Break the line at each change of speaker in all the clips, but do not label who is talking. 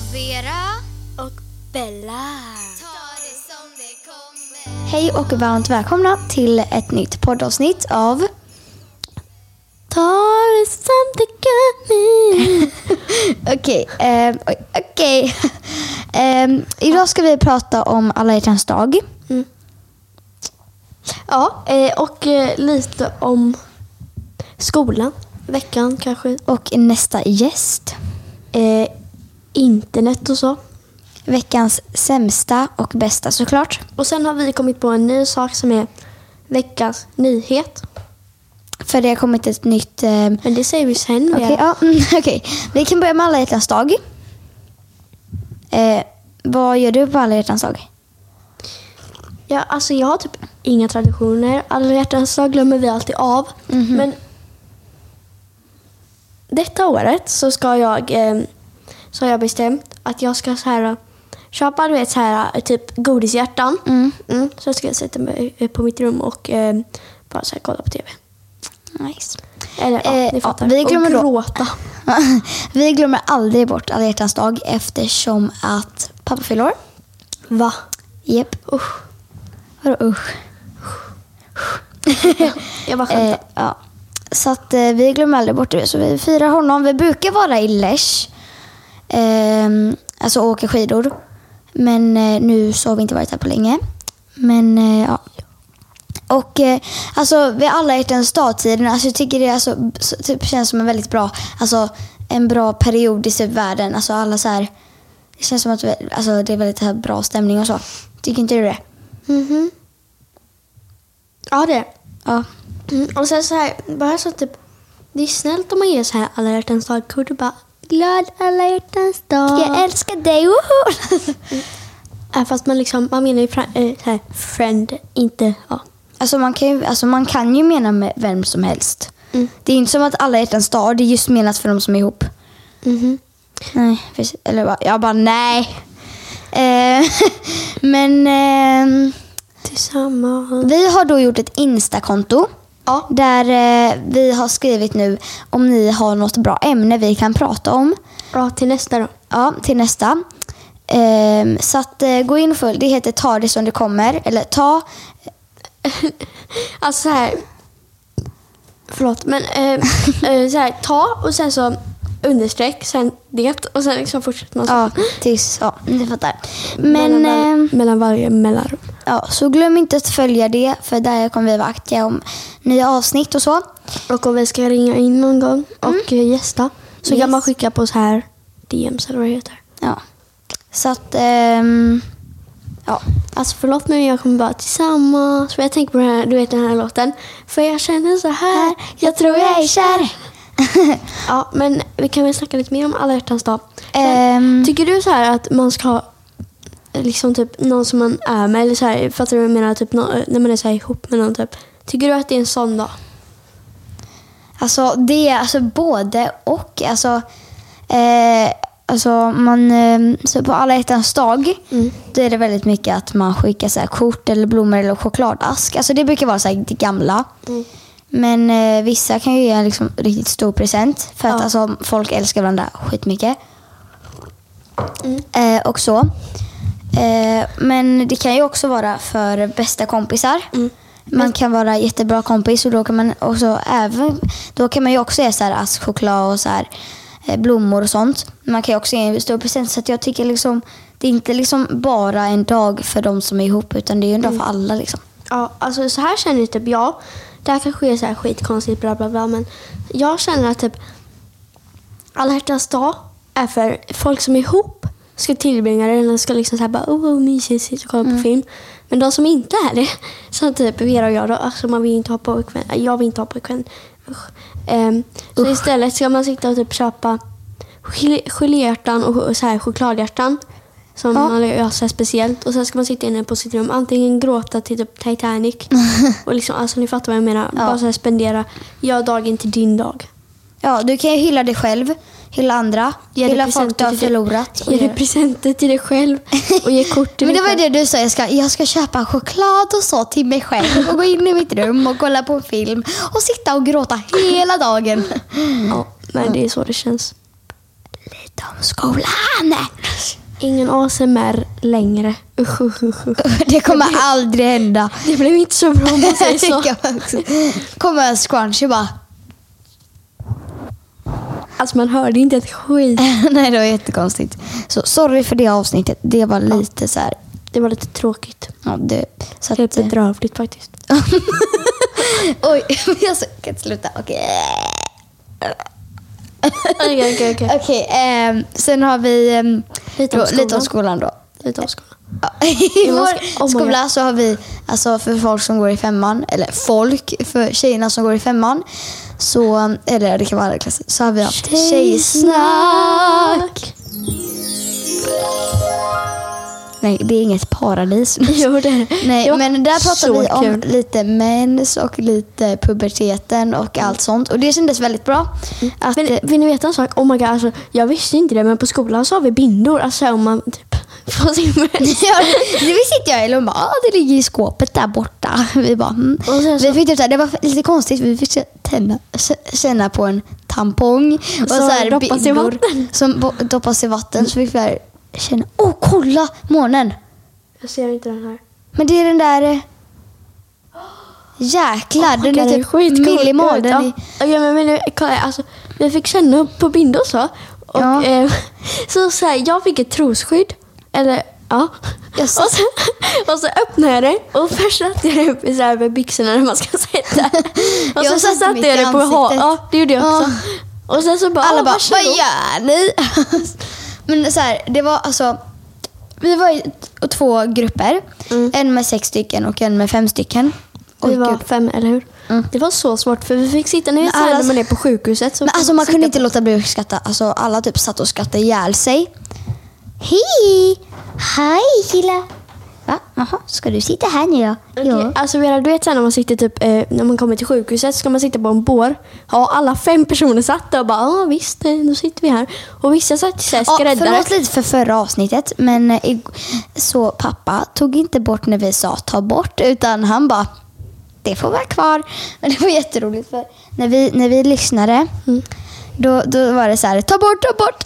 Sara
och Bella.
tar det som det kommer.
Hej och varmt välkomna till ett nytt poddavsnitt av Ta det som det kommer. Okej, ehm, oj, okej. Ehm, idag ska vi prata om alla hjärtans dag.
Ja, eh, och eh, lite om skolan. Veckan kanske.
Och nästa gäst.
Eh, internet och så.
Veckans sämsta och bästa såklart.
Och sen har vi kommit på en ny sak som är veckans nyhet.
För det har kommit ett nytt... ehm,
Men det säger vi sen.
Okej,
mer.
ja, mm, okej. vi kan börja med alla hjärtans dag. Eh, vad gör du på alla hjärtans dag?
ja, alltså jag har typ inga traditioner. Alla hjärtans dag glömmer vi alltid av.
Mhm.
Men detta året så ska jag eh, så har jag bestämt att jag ska så här köpa du vet, så här, typ godishjärtan.
Mm.
Mm, så ska jag sätta mig eh, på mitt rum och eh, bara så här, kolla på TV.
Nice.
Eller ja,
Eh,
ni fattar.
ja, vi glömmer då-
och gråta.
vi glömmer aldrig bort alla hjärtans dag eftersom att pappa fyller år.
Va?
Jep.
Usch.
Vadå usch?
Jag bara
Eh,
skämtar.
ja. Så att eh, vi glömmer aldrig bort det. Så vi firar honom. Vi brukar vara i Lesch. Ehm, alltså åka skidor. Men eh, nu så har vi inte varit här på länge. Men eh, ja. Och eh, alltså vid alla hjärtans dagtiden, alltså jag tycker det alltså, så- typ, känns som en väldigt bra, alltså en bra period i typ världen. Alltså alla så här, det känns som att vi, alltså, det är väldigt här, bra stämning och så. Tycker inte du det?
Mm-hmm. Ja, det är
Ja.
Mm, och sen så här, bara så typ, det är snällt om man ger så här alla hjärtans dag-kort och bara glad alla hjärtans dag.
Jag älskar dig, woho!
Äh, fast man liksom, man menar ju fra, eh, så här, friend, inte, ja.
Alltså man, kan ju, alltså man kan ju mena med vem som helst.
Mm.
Det är inte som att alla hjärtans dag, det är just menat för de som är ihop. Mm-hmm. Nej, precis. Eller bara, jag bara nej. Eh, men ehm,
Tillsammans.
vi har då gjort ett Insta-konto.
Ja.
Där eh, vi har skrivit nu om ni har något bra ämne vi kan prata om.
Bra, till nästa då.
Ja, till nästa. Ehm, så att, eh, gå in och följ. Det heter Ta det som det kommer. Eller ta...
Alltså så här, förlåt, men eh, eh, så här, ta och sen så understreck, sen det och sen liksom fortsätter man så.
Ja, tills... Ja, ni fattar. Men...
mellan, var-
ehm,
mellan varje mellanrum.
Ja, så glöm inte att följa det, för där kommer vi vara aktiga om nya avsnitt och så.
Och om vi ska ringa in någon gång och eh, gästa så
Yes.
kan man skicka på så här DMs eller vad det heter.
Ja. Så att, ehm, ja.
Alltså förlåt men jag kommer bara tillsammans. För jag tänker på den här, du vet den här låten. För jag känner så här, jag tror jag är kär. Ja, men vi kan väl snacka lite mer om alla hjärtans dag.
Ehm,
Tycker du så här att man ska ha liksom typ någon som man är med? Eller så här, fattar du vad jag menar? Typ nå- när man är så här ihop med någon typ. Tycker du att det är en sån dag?
alltså det är alltså både och. Alltså, eh, alltså man, ehm, så på alla hjärtans dag, då är det väldigt mycket att man skickar så här kort eller blommor eller chokladask. Alltså det brukar vara så här det gamla.
Mm.
Men eh, vissa kan ju ge en liksom, riktigt stor present. För att
Ja.
alltså, folk älskar varandra skitmycket.
Mm.
Eh, och så. Eh, men det kan ju också vara för bästa kompisar.
Mm.
Man kan vara jättebra kompis och då kan man, också, även, då kan man ju också ge så här ask, choklad och så här, eh, blommor och sånt. Men Man kan ju också ge en stor present. Så att jag tycker liksom, det är inte liksom bara en dag för de som är ihop utan det är ju en
Mm.
dag för alla. Liksom.
Ja, alltså så här känner typ jag. Det här kanske är så här skitkonstigt, bla bla bla, men jag känner att typ alla hjärtans dag är för folk som är ihop ska tillbringa det eller ska liksom så här bara oh, oh mysigt, sitta och kolla
Mm.
på film. Men de som inte är det, som typ Vera och jag då, alltså man vill ju inte ha pojkvän, äh, jag vill inte ha pojkvän. Usch. Ehm, så istället ska man sitta och typ köpa gel- geléhjärtan och och så här chokladhjärtan som
Ja.
man gör så här speciellt. Och sen ska man sitta inne på sitt rum, antingen gråta till typ Titanic. och liksom, alltså ni fattar vad jag menar.
Ja.
Bara så här spendera, gör dagen till din dag.
Ja, du kan ju hylla dig själv, hylla andra,
Ge dig
hylla folk
presenter
du har
till dig-
förlorat. och
Ge dig
göra-
presenter till dig själv och ge kort till
Men
dig
det var ju
själv.
det du sa, jag ska, jag ska köpa choklad och så till mig själv och gå in i mitt rum och kolla på en film och sitta och gråta hela dagen.
Ja, men det är så det känns.
Lite om skolan.
ingen ASMR längre. Usch, usch, usch, usch.
Det kommer aldrig hända.
Det blev inte så bra om man säger så.
kommer en scrunchie bara.
Alltså man hörde inte ett skit.
Nej, det var jättekonstigt. Så sorry för det avsnittet. Det var lite så här.
Det var lite tråkigt.
Ja, det, så att, eh,
Helt bedrövligt faktiskt.
oj, jag så- kan inte sluta. Okej.
Okej, okej, okej.
Okej, ehm, sen har vi ehm,
Lite om
då- lite
skolan.
om skolan då.
Lite avskola.
Ja, I
I vår
vår
sk- oh my
skola så har vi, alltså för folk som går i femman, eller folk, för tjejerna som går i femman, så, eller det kan vara alla klasser, så har vi haft tjejsnack. Nej, det är inget paradis.
Jo, det är det.
Nej,
Det var
men där pratar
så
vi om
kul.
lite mens och lite puberteten och
Mm.
allt sånt. Och det kändes väldigt bra. Att,
Men Alltså, vill ni veta en sak? Oh my god, alltså, jag visste inte det, men på skolan så har vi bindor. Alltså om man typ får sin mens.
Ja, det visste inte jag heller. Hon bara, ah, det ligger i skåpet där borta. Vi bara, mm.
Och sen så-
vi fick typ så här, det var lite konstigt, vi fick tänna, känna på en tampong. Och
Som
så här,
doppas i
bindor
vatten.
Som bo- doppas i vatten. Så fick vi här känna, åh oh, kolla månen.
Jag ser inte den här.
Men det är den där... eh, Jäklar, den är
Den är
typ
skitcool.
mil i magen.
Ja.
i-
Ja, men, men, kolla, alltså, vi fick känna upp på bindor så. Och,
Ja.
eh, så, så här, jag fick ett trosskydd. Eller, ja. Och
Jaså.
så, och så öppnade jag det och först satte jag det upp i så här med byxorna när man ska sätta. Och
Jag
så, så
satte
satte
mitt
jag
i
det på ha.
ansiktet.
Ja, det gjorde jag också. Och sen så bara,
Alla
"Åh,
bara, vad
varsågod."
gör ni? Men så här, det var alltså... Vi var i t- två grupper. En med sex stycken och en med fem stycken. Och
Mm. Vi var
gud. Mm.
fem, eller hur? Det var så svårt för vi fick sitta, ni vet
Men
såhär
alla-
när man är på sjukhuset. Så
Men
får
alltså man
sitta
kunde
på-
inte låta bli att skratta. Alltså alla typ satt och skrattade ihjäl sig. Hej! Hej killar! Va? Jaha, ska du sitta här nu då?
Okej, Alltså Vera, du vet såhär när man sitter typ, eh, när man kommer till sjukhuset så ska man sitta på en bår. Ja, alla fem personer satt där och bara, ja visst, eh, nu sitter vi här. Och vissa satt såhär
Ja,
skräddare.
förlåt lite för förra avsnittet, men eh, ig- så pappa tog inte bort när vi sa ta bort, utan han bara det får vara kvar. Men det var jätteroligt för när vi, när vi lyssnade, då, då var det så här ta bort, ta bort,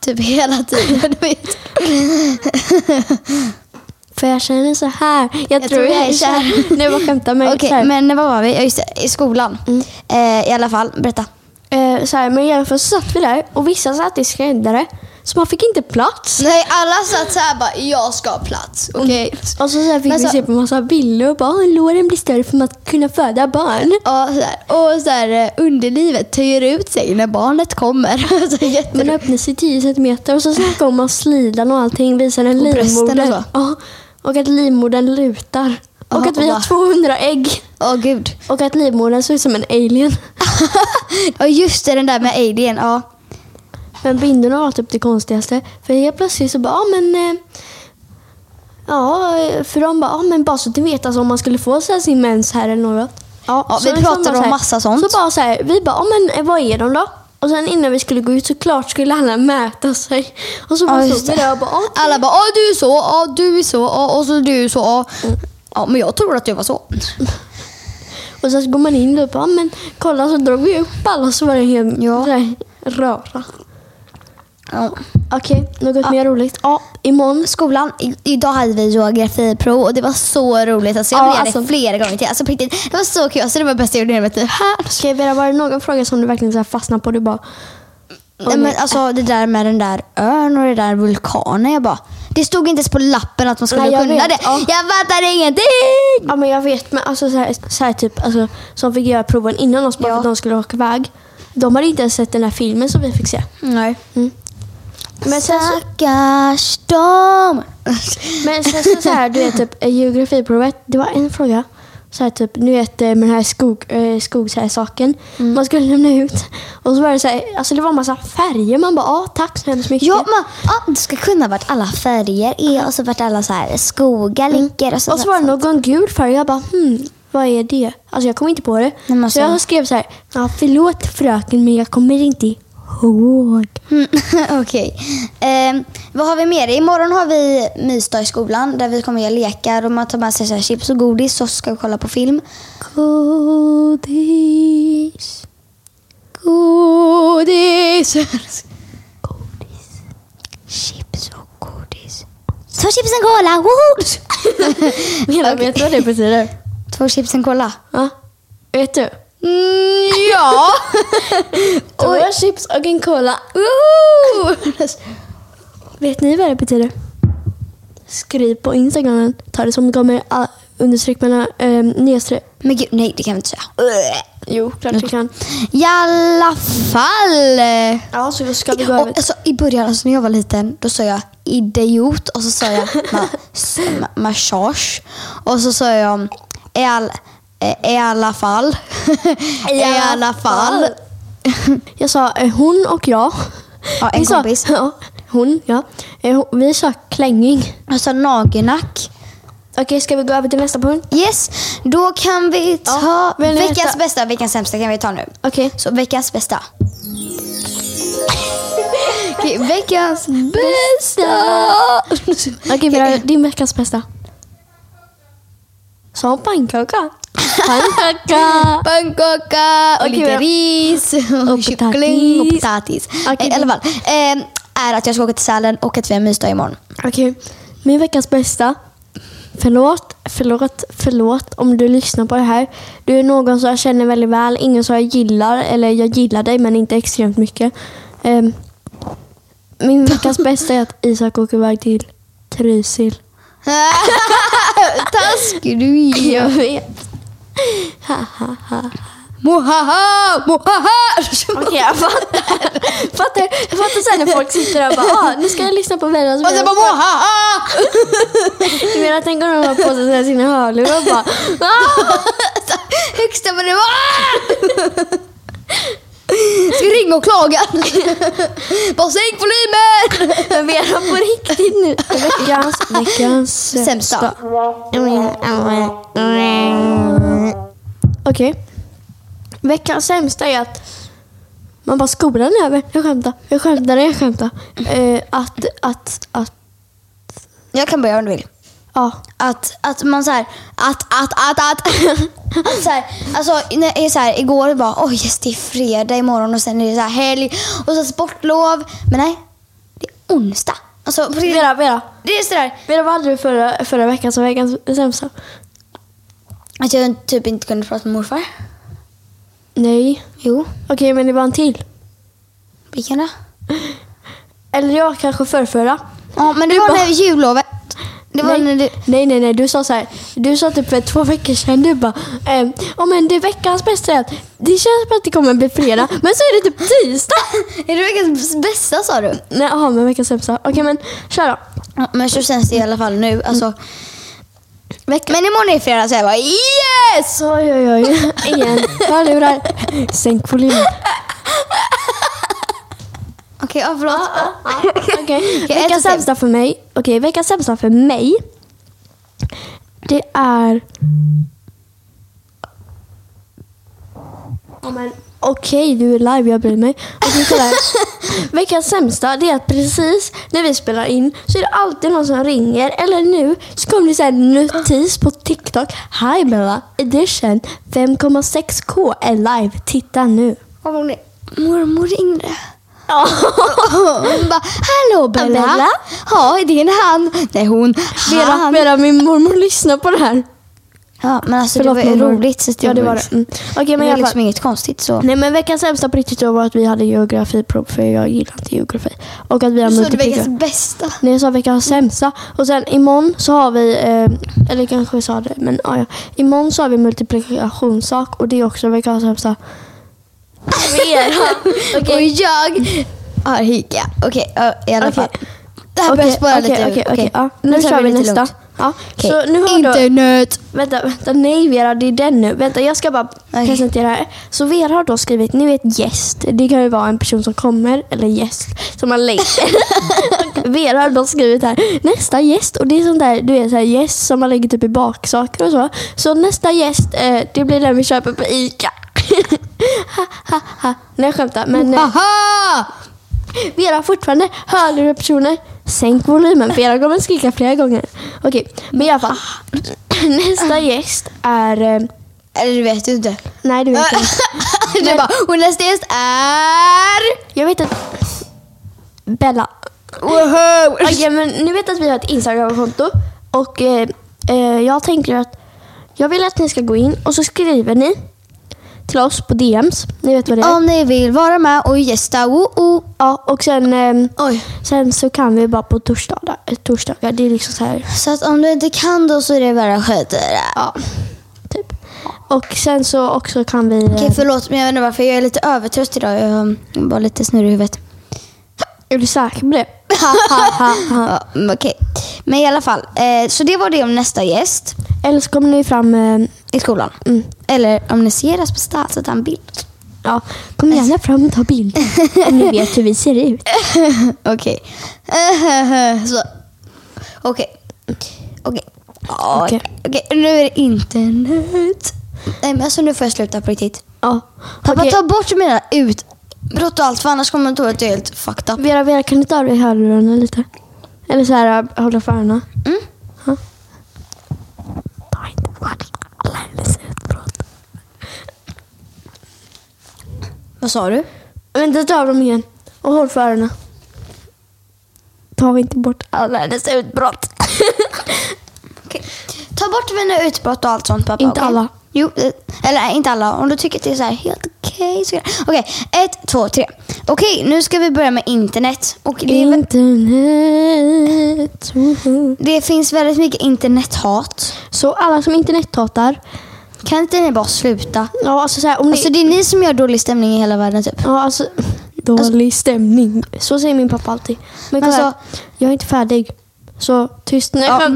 typ hela tiden. Det var jätte-
för jag känner så här. Jag,
tror jag är kär.
Nej, jag bara skämtar. Men,
Okej,
så här,
men vad var vi? Ja, just det, i skolan. Eh, I alla fall, berätta.
eh, så här, men i alla fall så satt vi där och vissa satt i skräddare. Så man fick inte plats.
Nej, alla satt så här bara, jag ska ha plats. Okej.
Och så, så här, fick
Men
vi
så-
se på massa bilder och bara, "Ah, låren blir större för att kunna föda barn.
Ja, så här. Och så här, eh, underlivet töjer ut sig när barnet kommer. så jätte...
Man öppnar sig 10 centimeter och så snackar om att slidan och allting visar en
brösten och
livmoder.
så.
Ja, och att livmodern lutar. och
Aha,
att vi
och
har 200
bara-
ägg.
Åh gud.
Och att livmodern ser ut som en alien.
Ja just det, den där med alien. Ja.
Men bindorna var typ det konstigaste. För helt plötsligt så bara, ja men... eh, Ja, för de bara, ja men bara så att du vet alltså, om man skulle få så här sin mens här eller något.
Ja,
Så
vi
liksom
pratade
bara
om
så här-
massa sånt.
Så bara så här, vi bara, ja men eh, vad är de då? Och sen innan vi skulle gå ut såklart skulle alla mäta sig. Och så
Ja,
bara
just
stod vi
det.
där och bara, ja,
Alla bara "Åh, du är så, ja du är så, ja och så du är så. Ja. ja men jag tror att du var så.
Och sen så går man in och bara, men kolla så drog vi upp alla så var det helt
Ja.
sådär röra.
Ja.
Okej, något mer roligt? Ja, imorgon.
Skolan, i, idag hade vi geografiprov och det var så roligt. Alltså, jag
Ja,
vill göra
alltså-
det flera gånger till. Alltså, på riktigt, det var så kul, alltså, det var det bästa jag gjorde i hela mitt liv.
Ska jag Vera, var det någon fråga som du verkligen så här fastnade på? Du bara,
Nej, men alltså det där med den där ön och den där vulkanen. Jag bara, det stod inte ens på lappen att man skulle
Nej, jag
kunna
vet.
det.
Ja.
Jag fattar ingenting!
ja men jag vet, men alltså så här, så här typ, alltså, som fick göra proven innan oss bara
Ja.
för att de skulle åka iväg. De hade inte ens sett den här filmen som vi fick se.
Nej.
Men sen så,
Stackars dem!
men sen så, så här, du vet typ eh, geografiprovet, det var en fråga. Så här, typ, nu vet eh, med den här skog, eh, skogs här saken
Mm.
man skulle lämna ut. Och så var det så här, alltså det var en massa färger. Man bara, ja tack så hemskt mycket.
Ja, man, ja, du ska kunna vart alla färger är och så vart alla så här skogar ligger. Och så,
Mm. och så var det någon gul färg. Jag bara, hmm, vad är det? Alltså jag kom inte på det.
Nej, men
så
alltså-
jag skrev så här, ja förlåt fröken men jag kommer inte ihåg.
Mm, Okej. Ehm, vad har vi mer? Imorgon har vi mysdag i skolan där vi kommer göra lekar och man tar med sig så här chips och godis och så ska vi kolla på film.
Godis.
Godis! Chips och chips and cola, woho!
Menar,
Okej.
Vet du vad det betyder?
Två chips and cola.
Ja. Vet du?
Mm, ja!
Två chips och en cola. Woho! Vet ni vad det betyder? Skriv på Instagram. Ta det som det kommer. Ah, Understreck mellan ähm, nedstreck.
Men gud, nej det kan vi inte säga.
Jo, klart du kan.
I alla fall.
Ja, så ska vi gå
Och,
över.
alltså, I början, alltså, när jag var liten, då sa jag idiot och så sa jag ma- s- ma- massage. Och så sa jag i, all, eh, i alla fall. I alla fall.
Jag sa eh, hon och jag.
Ja, en
Vi sa-
kompis.
Ja, hon, ja. Eh, hon- Vi sa klänging.
Jag sa nagellack.
Okej, ska vi gå över till nästa punkt?
Yes, då kan vi ta
Ja, vill ni
veckans
veta?
bästa, veckans sämsta kan vi ta nu.
Okej.
Så veckans bästa. Okej, veckans bästa!
Okej, eh, Vera, din veckans bästa. Sa hon pannkaka? Pannkaka!
Pannkaka och
Okej,
lite
men-
ris och,
Och
kyckling och
potatis.
potatis.
Okej,
Eh, I alla fall. ehm, är att jag ska åka till Sälen och att vi har mysdag imorgon.
Okej, min veckans bästa. Förlåt, förlåt, förlåt om du lyssnar på det här. Du är någon som jag känner väldigt väl, ingen som jag gillar, eller jag gillar dig men inte extremt mycket. Ehm, min veckans bästa är att Isak åker iväg till Trysil.
Taskig du är.
Jag vet.
Mohaha, mohaha!
Okej, jag fattar. fattar. Jag fattar sen när folk sitter där och bara ah, nu ska jag lyssna på Veras
Och sen bara mohaha!
Jag menar, tänk om de har på sig sådär sina hörlurar och bara ah!
Högsta vad det var! Ska ringa och klaga. Bara sänk volymen!
Vera på riktigt nu. Veckans, veckans
Sämsta.
Okej. Veckans sämsta är att man bara skolan är över. Jag skämtar, jag skämtar, jag skämtar. Eh, att, att, att,
Jag kan börja om du vill.
ja.
Att, att man så här, att, att, att, att. att så här, alltså, när, jag är så här, igår bara, oj yes, det är fredag imorgon och sen är det så här helg och så sportlov. Men nej, det är onsdag. Alltså, på det,
Vera, Vera.
det är sådär
Vera, vad hade du förra, förra veckan som veckans sämsta?
att jag typ inte kunde prata med morfar.
Nej.
Jo,
Okej, men det var en till.
vilken då?
Eller jag kanske förrförra.
Ja, men det var när jullovet. Det var när
nej,
det,
nej, nej, nej. Du sa så här. Du sa typ för två veckor sedan, du bara, ehm, "Ja, men det är veckans bästa är att det känns som att det kommer bli fredag, men så är det typ tisdag.
Är det veckans bästa sa du?
nej, jaha, men veckans sämsta. Okej, men kör då.
Ja, men så känns det i alla fall nu. Alltså, Men imorgon är fredag så jag bara yes!
Oj, oj, oj. Igen. Hörlurar. Sänk volymen.
Okej, ja, förlåt.
Okej,
ett och
veckans
fem.
sämsta för mig. Okej, veckans sämsta för mig. Det är... Ja, men Okej, du är live, jag bryr mig. Okej, kolla här. Veckans sämsta det är att precis när vi spelar in så är det alltid någon som ringer. Eller nu så kommer det så här notis på TikTok. Hi Bella edition 5,6k är live. Titta nu.
Kommer Mormor ringde.
Ja.
Hon bara, hallå Bella.
Bella?
Ja, är det en han? Nej, hon.
Vera,
Han.
Vera, min mormor lyssnar på det här.
Ja, men alltså det var ju
mormor.
roligt. Så
Ja, det var det.
liksom-
Mm. Okej, men
det
i
var
alla
liksom
fall.
inget konstigt så.
Nej, men veckans sämsta på riktigt var att vi hade geografiprov, för jag gillar inte geografi. Och att vi har multiplikator.
bästa.
Nej, jag sa veckans sämsta. Och sen imorgon så har vi, eh, eller kanske jag sa det, men ah, ja, ja. Imorgon så har vi multiplikationssak och det är också veckans sämsta.
Och jag har hika. Okej, ja, i alla
Okej.
fall. Det här behöver spara
okej,
lite.
okej,
Okej.
okej, ja. Nu
tar
kör vi
det lite
nästa.
lugnt.
Ja.
Okej.
Så nu har du...
Internet.
Vänta, vänta, nej Vera, det är den nu. Vänta, jag ska bara
Okej.
presentera här. Så Vera har då skrivit, ni vet gäst, det kan ju vara en person som kommer, eller gäst som man lägger. Vera har då skrivit här, nästa gäst, och det är sånt där, du vet, så här, gäst som man lägger typ i baksaker och så. Så nästa gäst, eh, det blir den vi köper på ICA. Ha, ha, ha. nej jag skämtar, men eh,
Aha!
Vera har fortfarande hörlurar personer. Sänk volymen, Vera kommer skrika flera gånger. Okej, men i alla fall. Nästa gäst är... eh,
Eller du vet ju inte.
Nej, du vet inte.
Du bara, och nästa gäst är...
Jag vet att... Bella.
Wow.
Okej, men ni vet att vi har ett Instagramkonto och eh, eh, jag tänker att jag vill att ni ska gå in och så skriver ni till oss på DMs. Ni vet vad det är.
Om ni vill vara med och gästa, woo
Ja, och sen, ehm,
Oj.
sen så kan vi bara på torsdagar. torsdagar. Det är liksom så här,
Så att om du inte kan då så är det bara att skita i det.
ja, typ. Och sen så också kan vi...
Okej, förlåt men jag vet inte varför. Jag är lite övertrött idag. Jag var lite snurrig i huvudet.
eh, är du säker på det? Ha, ha, ha, ha.
Ja, men Okej. Men i alla fall. Eh, så det var det om nästa gäst
Eller så kommer ni fram... ehm,
i skolan.
mm,
Eller om ni ser oss på stan så ta en bild.
ja, kom gärna fram och ta bild. Om ni vet hur vi ser ut.
Okej. så. Okej. Okej. Okej.
Okej.
Okej, Nu är det internet. Nej men alltså nu får jag sluta på riktigt.
Ja.
Pappa
Okej.
ta bort mina utbrott och allt för annars kommer jag tro att jag är helt fucked up.
Vera, Vera, kan du ta av dig hörlurarna lite? Eller så här, äh, hålla för öronen.
Mm.
Ja. Ta inte bort alla hennes utbrott.
Vad sa du?
Vänta, ta av dem igen. Och håll för öronen. Ta inte bort alla hennes utbrott.
Ta bort mina utbrott och allt sånt pappa.
Inte
okej?
alla.
Jo, eh, eller nej, inte alla. Om du tycker att det är så här helt okej så så Okej, ett, två, tre. Okej, nu ska vi börja med internet. Och det,
Mm.
är, väl-
Internet. woho.
det finns väldigt mycket internethat.
Så alla som internethatar.
Kan inte ni bara sluta?
Ja, alltså så här, om ni...
Alltså det är ni som gör dålig stämning i hela världen typ.
ja, alltså, dålig stämning. Så säger min pappa alltid. Men
Men
kolla,
alltså-
jag är inte färdig. Så tyst nu.
Ja.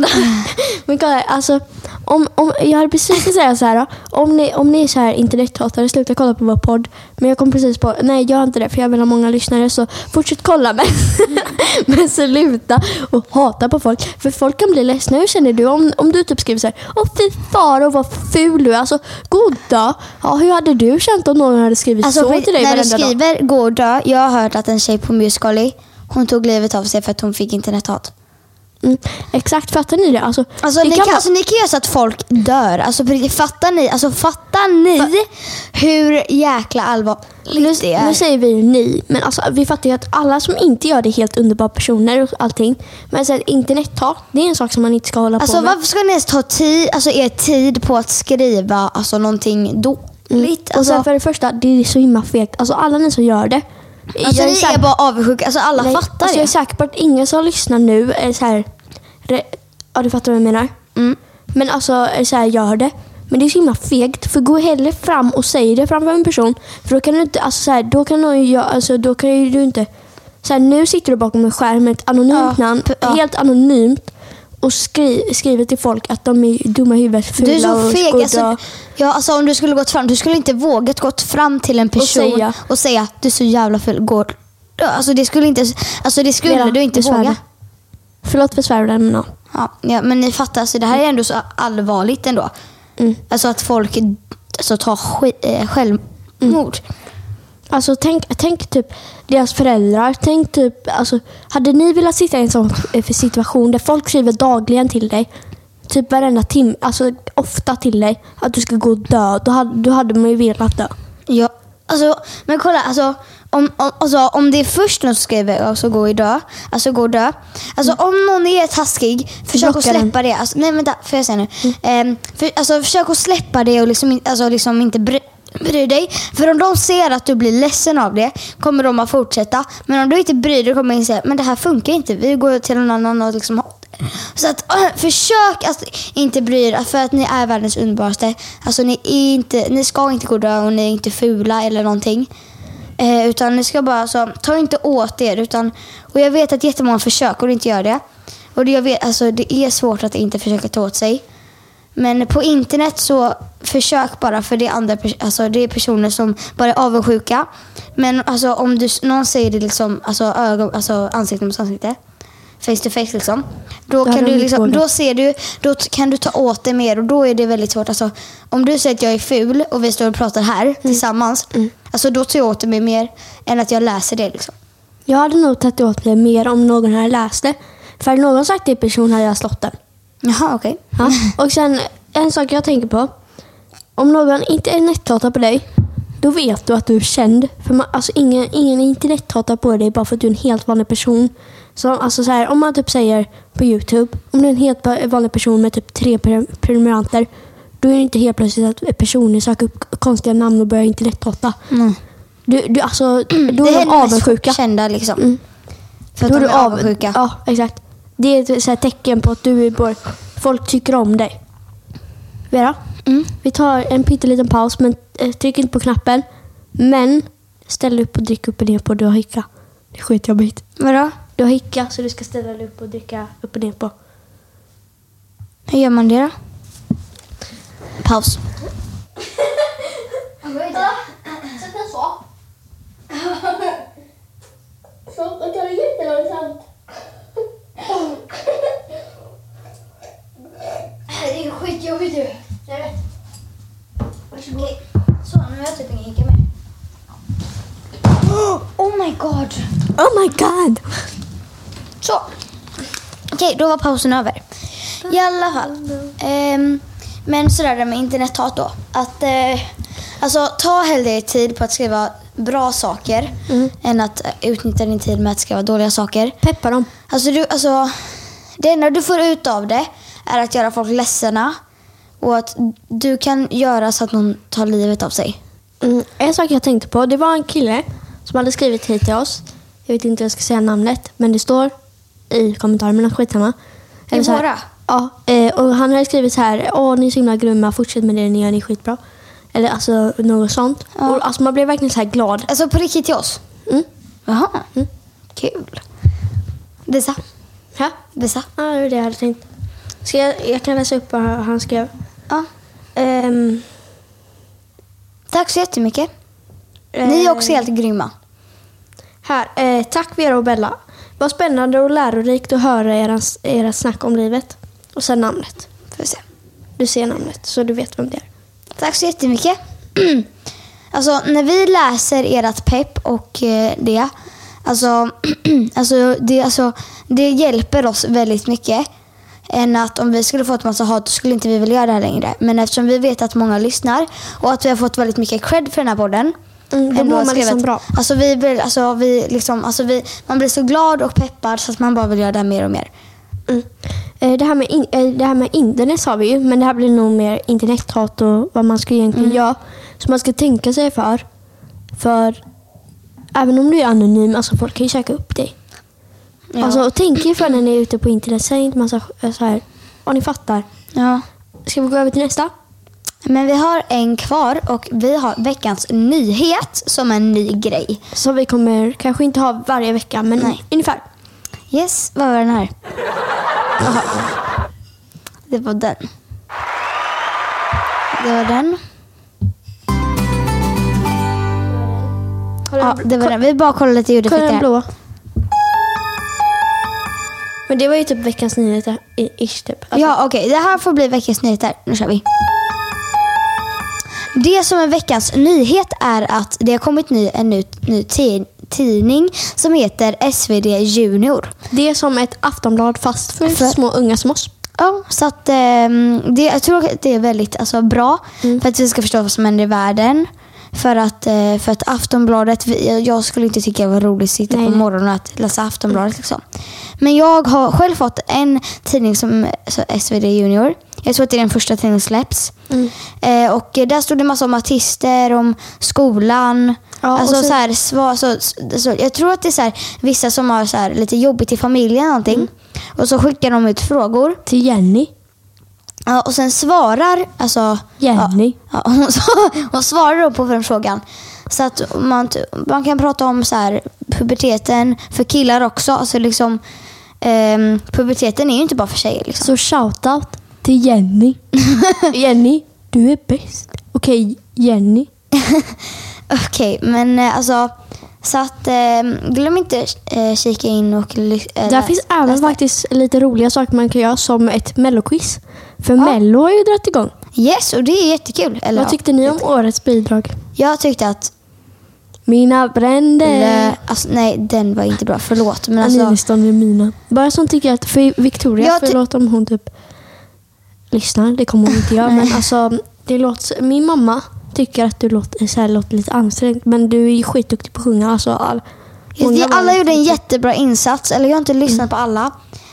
Men kolla, här, alltså, om, om, jag hade precis att säga så här. då. Om ni, om ni är så här internethatare, sluta kolla på vår podd. Men jag kom precis på, nej gör inte det för jag vill ha många lyssnare. Så fortsätt kolla men, men sluta och hata på folk. För folk kan bli ledsna. Hur känner du om, om du typ skriver så här, åh fy faro vad ful du är. Alltså goda, ja, hur hade du känt om någon hade skrivit så
på-
till dig
Alltså, när du
varenda dag?
skriver gå och dö. Jag har hört att en tjej på Musically, hon tog livet av sig för att hon fick internethat.
Mm, exakt, fattar ni det? Alltså,
Alltså
det
ni, kan,
vara-
alltså ni kan göra så att folk dör. Alltså, på riktigt, fattar ni, alltså, fattar ni hur jäkla allvarligt det
nu
är?
säger vi ju ni, men alltså, vi fattar ju att alla som inte gör det är helt underbara personer och allting. Men så här, internethat, det är en sak som man inte ska hålla
Alltså,
på med.
varför ska ni ens ta tid, alltså, er tid på att skriva alltså, någonting dåligt?
Mm. Och
Alltså,
sen för det första, det är så himla fegt. Alltså alla ni som gör det.
alltså,
jag
ni
säker-
är bara avundsjuka. Alltså, alla
nej,
fattar
alltså, Jag är säker på att ingen som lyssnar nu är så här... Re, ja, du fattar vad jag menar.
det. Mm.
Men alltså, är så här, gör det. Men det är så himla fegt, för gå hellre fram och säg det framför en person. För då kan du inte, alltså så här, då kan någon ju, göra- alltså då kan ju du inte... Så här, nu sitter du bakom en skärm med ett anonymt
Ja,
namn,
p- ja.
helt anonymt och skri, skriver till folk att de är dumma i huvudet, fula
Du är så
och
feg.
skodda.
Alltså, ja, alltså, om du skulle gått fram, du skulle inte vågat gått fram till en person och säga,
säga-
att du är så jävla ful. Går. Alltså, det skulle, inte, alltså, det skulle
Vera,
du inte
jag svär
våga.
det. Förlåt för svärden, men ja.
Ja, ja, men ni fattar, så det här är ändå så allvarligt ändå.
Mm.
Alltså att folk alltså, tar sk- eh, självmord.
Mm. Alltså tänk, tänk typ deras föräldrar. Tänk typ, alltså, hade ni velat sitta i en sån eh, för situation där folk skriver dagligen till dig, typ varenda timme, alltså ofta till dig, att du ska gå och dö. Då hade, då hade man ju velat dö.
Ja, alltså, men kolla, alltså, om, om, alltså, om det är först någon som skriver alltså, gå och dö, alltså gå och dö. Alltså, om någon är taskig, försök att
Blocka Mm. den.
släppa det. Alltså, nej vänta, får jag säga nu? Ehm, för, alltså, försök att släppa det och liksom, in- alltså, liksom inte bry, bry dig. För om de ser att du blir ledsen av det kommer de att fortsätta. Men om du inte bryr dig kommer de säga men det här funkar inte. Vi går till någon annan och liksom så att, äh, försök att inte bry er för att ni är världens underbaraste. Alltså, ni, är inte, ni ska inte gå och dö och ni är inte fula eller någonting. Eh, utan ni ska bara, alltså, ta inte åt er. Utan, och jag vet att jättemånga försöker och inte gör det. Och det, jag vet, alltså, det är svårt att inte försöka ta åt sig. Men på internet så försök bara för det är, andra, pers- alltså, det är personer som bara är avundsjuka. Men alltså, om du, s- någon säger det liksom, alltså, ögon, alltså, ansikte mot ansikte, face to face liksom. Då,
Ja,
kan
de
du,
vill gå
liksom,
det.
då, ser du, då t- kan du ta åt dig mer och då är det väldigt svårt. Alltså, om du säger att jag är ful och vi står och pratar här
Mm.
tillsammans, alltså, då tar jag åt mig mer än att jag läser det. Liksom.
Jag hade nog tagit åt mig mer om någon hade läst det. För hade någon sagt det i person hade jag slått den.
Jaha, okej.
Ja. Och sen en sak jag tänker på. Om någon inte är näthatar på dig, Då vet du att du är känd. För man, alltså ingen, ingen internethatar på dig bara för att du är en helt vanlig person. Så, alltså så här, om man typ säger på Youtube, om du är en helt va- vanlig person med typ tre pre- prenumeranter, då är det inte helt plötsligt att personer söker upp konstiga namn och börjar internethata.
Mm.
Du, du, alltså, då är de
händer mest
avundsjuka.
Kända liksom.
Mm.
För att
Då
de
du
är
av-
avundsjuka.
Ja, exakt. Det är ett så här tecken på att du är både, folk tycker om dig. Vera,
Mm.
vi tar en pytteliten paus, men eh, tryck inte på knappen. Men ställ dig upp och drick upp och ner på. Du har hicka. Det är skitjobbigt.
Vadå?
Du har hicka, så du ska ställa dig upp och dricka upp och ner på.
Hur gör man det då? Paus.
Det är skitjobbigt ju.
Okej, så nu har jag typ ingen hicka mer. Oh my god!
Oh my god!
Så. Okej, då var pausen över. I alla fall. Ehm, men sådär det med internethat då. Att, eh, alltså, ta hellre tid på att skriva bra saker än att eh, utnyttja din tid med att skriva dåliga saker.
Peppa dem.
Alltså, du, alltså, det enda du får ut av det är att göra folk ledsna och att du kan göra så att någon tar livet av sig.
Mm, en sak jag tänkte på, det var en kille som hade skrivit hit till oss. Jag vet inte hur jag ska säga namnet, men det står i kommentarerna, skitsamma.
I
Eller så här-
våra?
Ja, eh, och han hade skrivit så här, åh ni är så himla grymma, fortsätt med det ni gör, ni är skitbra. Eller alltså något sånt.
Ja.
Och, alltså man blev verkligen så här glad.
Alltså på riktigt till oss.
Mm.
Jaha,
Mm.
kul. Visa,
Ja,
visa.
ja, det var det jag hade tänkt. Ska jag, jag kan läsa upp vad han skrev.
Ja.
Ehm,
Tack så jättemycket. Ni är
eh,
också helt grymma.
Här. Eh, tack Vera och Bella. Vad spännande och lärorikt att höra era, era snack om livet. Och sen namnet.
Får vi se.
Du ser namnet, så du vet vem det är.
Tack så jättemycket. alltså, när vi läser ert pepp och eh, det, alltså, alltså, det, alltså, det hjälper oss väldigt mycket. Än att om vi skulle fått massa hat då skulle inte vi vilja göra det här längre. Men eftersom vi vet att många lyssnar och att vi har fått väldigt mycket cred för den här podden.
Mm, då
ändå
mår
har
man liksom
skrivit-
bra.
Alltså, vi, blir- alltså, vi liksom, alltså, vi, man blir så glad och peppad så att man bara vill göra det här mer och mer.
Mm. Eh, Det här, med in, eh, det här med internet sa vi ju, men det här blir nog mer internethat och vad man ska egentligen
Mm.
göra. Så man ska tänka sig för. För även om du är anonym, alltså folk kan ju söka upp dig.
Ja.
Alltså, och tänk er för när ni är ute på internet, säg inte massa eh, så här. Ja, ni fattar.
ja.
Ska vi gå över till nästa?
Men vi har en kvar och vi har veckans nyhet som en ny grej.
Som vi kommer kanske inte ha varje vecka, men
Nej.
ungefär.
Yes, vad var den här? Jaha. Det var den. Det var den.
Kolla
Ja,
den-
det var den. Vi bara kollar lite
kolla den
ljudeffekter här.
blåa. Men det var ju typ veckans nyheter, i- ish typ. Alltså,
Ja, okej. Det här får bli veckans nyheter. Nu kör vi. Det som är veckans nyhet är att det har kommit ny, en ny, ny ti- tidning som heter SvD Junior.
Det är som ett aftonblad fast för,
För-
små unga som oss.
Ja, så att, ehm, det, jag tror att det är väldigt alltså, bra
Mm.
för att vi ska förstå vad som händer i världen. För att, eh, för att Aftonbladet, vi- jag- jag skulle inte tycka det var roligt att sitta
Nej,
på
nej.
morgonen och att läsa Aftonbladet. Liksom. Men jag har själv fått en tidning som eh, så SvD Junior. Jag tror att det är den första tidningen som släpps.
Mm.
Eh, och eh, där stod det massa om artister, om skolan.
Ja, och
alltså,
så-
så här, sva, så, så, så, jag tror att det är så här, vissa som har så här, lite jobbigt i familjen eller någonting.
Mm.
Och så skickar de ut frågor.
Till Jenny.
Ja, och sen svarar alltså,
Jenny.
Ja, ja, hon, svar- hon svarar då på den frågan. Så att man, t- man kan prata om så här, puberteten för killar också. Alltså liksom, ehm, puberteten är ju inte bara för tjejer. Liksom.
Så shoutout till Jenny. Jenny, du är bäst. Okej, Jenny.
Okej, men eh, alltså... Så att ehm, glöm inte eh, kika in och... ly- eh,
Där
läs-
finns även
läs det.
faktiskt lite roliga saker man kan göra som ett melloquiz. För mello har ju dragit igång.
Yes, och det är jättekul. Eller,
Vad
ja.
tyckte ni om årets bidrag?
Jag tyckte att...
Mina bränder.
Lä, alltså, nej, den var inte bra. Förlåt. Men
Alltså,
alltså,
Angelistan är mina. Bara som tycker att för Victoria,
Jag ty-
förlåt om hon typ lyssnar, det kommer hon inte göra. men alltså, det låter, min mamma tycker att du låter, så här, låter lite ansträngd. Men du är ju skitduktig på att sjunga. Alltså, all,
Just
många
det, alla
var-
gjorde en jättebra insats, eller jag har inte lyssnat på alla.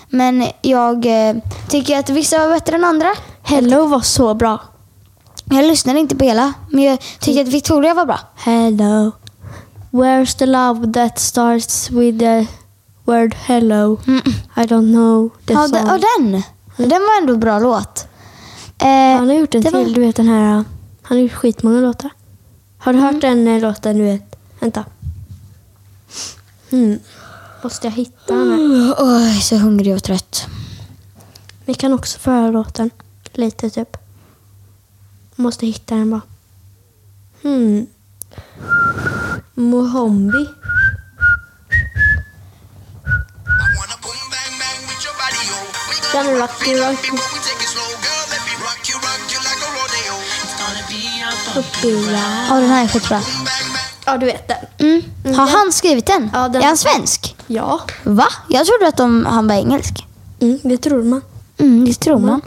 Men jag eh, tycker att vissa var bättre än andra.
Hello var så bra.
Jag lyssnade inte på hela, men jag tycker att Victoria var bra.
Hello. Where's the love that starts with the word hello?
Mm.
I don't know the
Ja,
song.
den, och den. Den var ändå en bra låt. Eh,
Han har gjort en
det
till,
var-
du vet den här... uh, Han har gjort skitmånga låtar. Har du hört
Mm.
den eh, låten du vet? Vänta. Mm. Måste jag hitta den här?
Oj, så hungrig och trött.
Vi kan också få höra låten. Lite typ. Måste hitta den bara. Hmm. Mohombi.
I wanna boom bang bang with your body, yo. We
Gotta
gonna
rock
rock
you,
it up
rock you.
before we take it slow, girl. Let me rock you, rock you like a rodeo. It's gonna be a
Uppila.
Ja, den här är skitbra.
boom bang bang.
Ja, du vet den.
Mm. Har han skrivit den?
Ja, den-
Är han svensk?
Ja.
Va? Jag trodde att de, han var engelsk.
Mm, det tror man.
Mm, det tror man.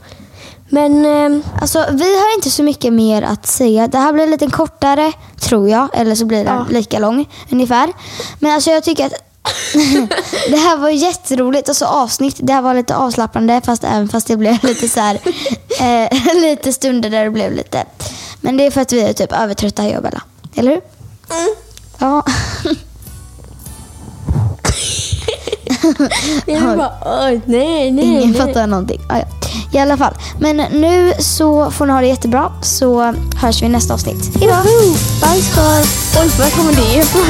Men ehm,
Alltså, vi har inte så mycket mer att säga. Det här blir lite kortare, tror jag. Eller så blir den
Ja.
lika lång, ungefär. Men alltså, jag tycker att det här var jätteroligt. Alltså, avsnitt. Det här var lite avslappnande, fast, även fast det blev lite så här, eh, lite stunder där det blev lite... Men det är för att vi är typ övertrötta, jag och Bella. Eller hur? Ja.
jag
Har-
bara, oj, nej, nej.
Ingen
nej.
fattar någonting. Ah, ja. I alla fall. Men nu så får ni ha det jättebra, så hörs vi i nästa avsnitt. Hejdå! Bajs kvar!
Oj, var kommer det ifrån?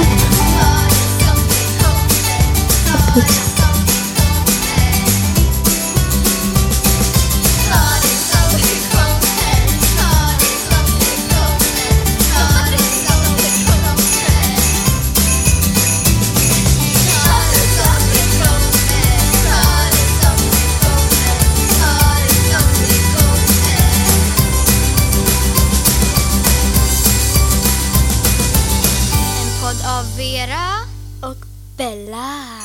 En podd av Vera
Och Bella.